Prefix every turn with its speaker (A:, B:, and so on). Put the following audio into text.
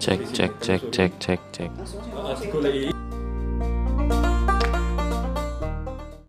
A: Cek cek cek cek cek cek.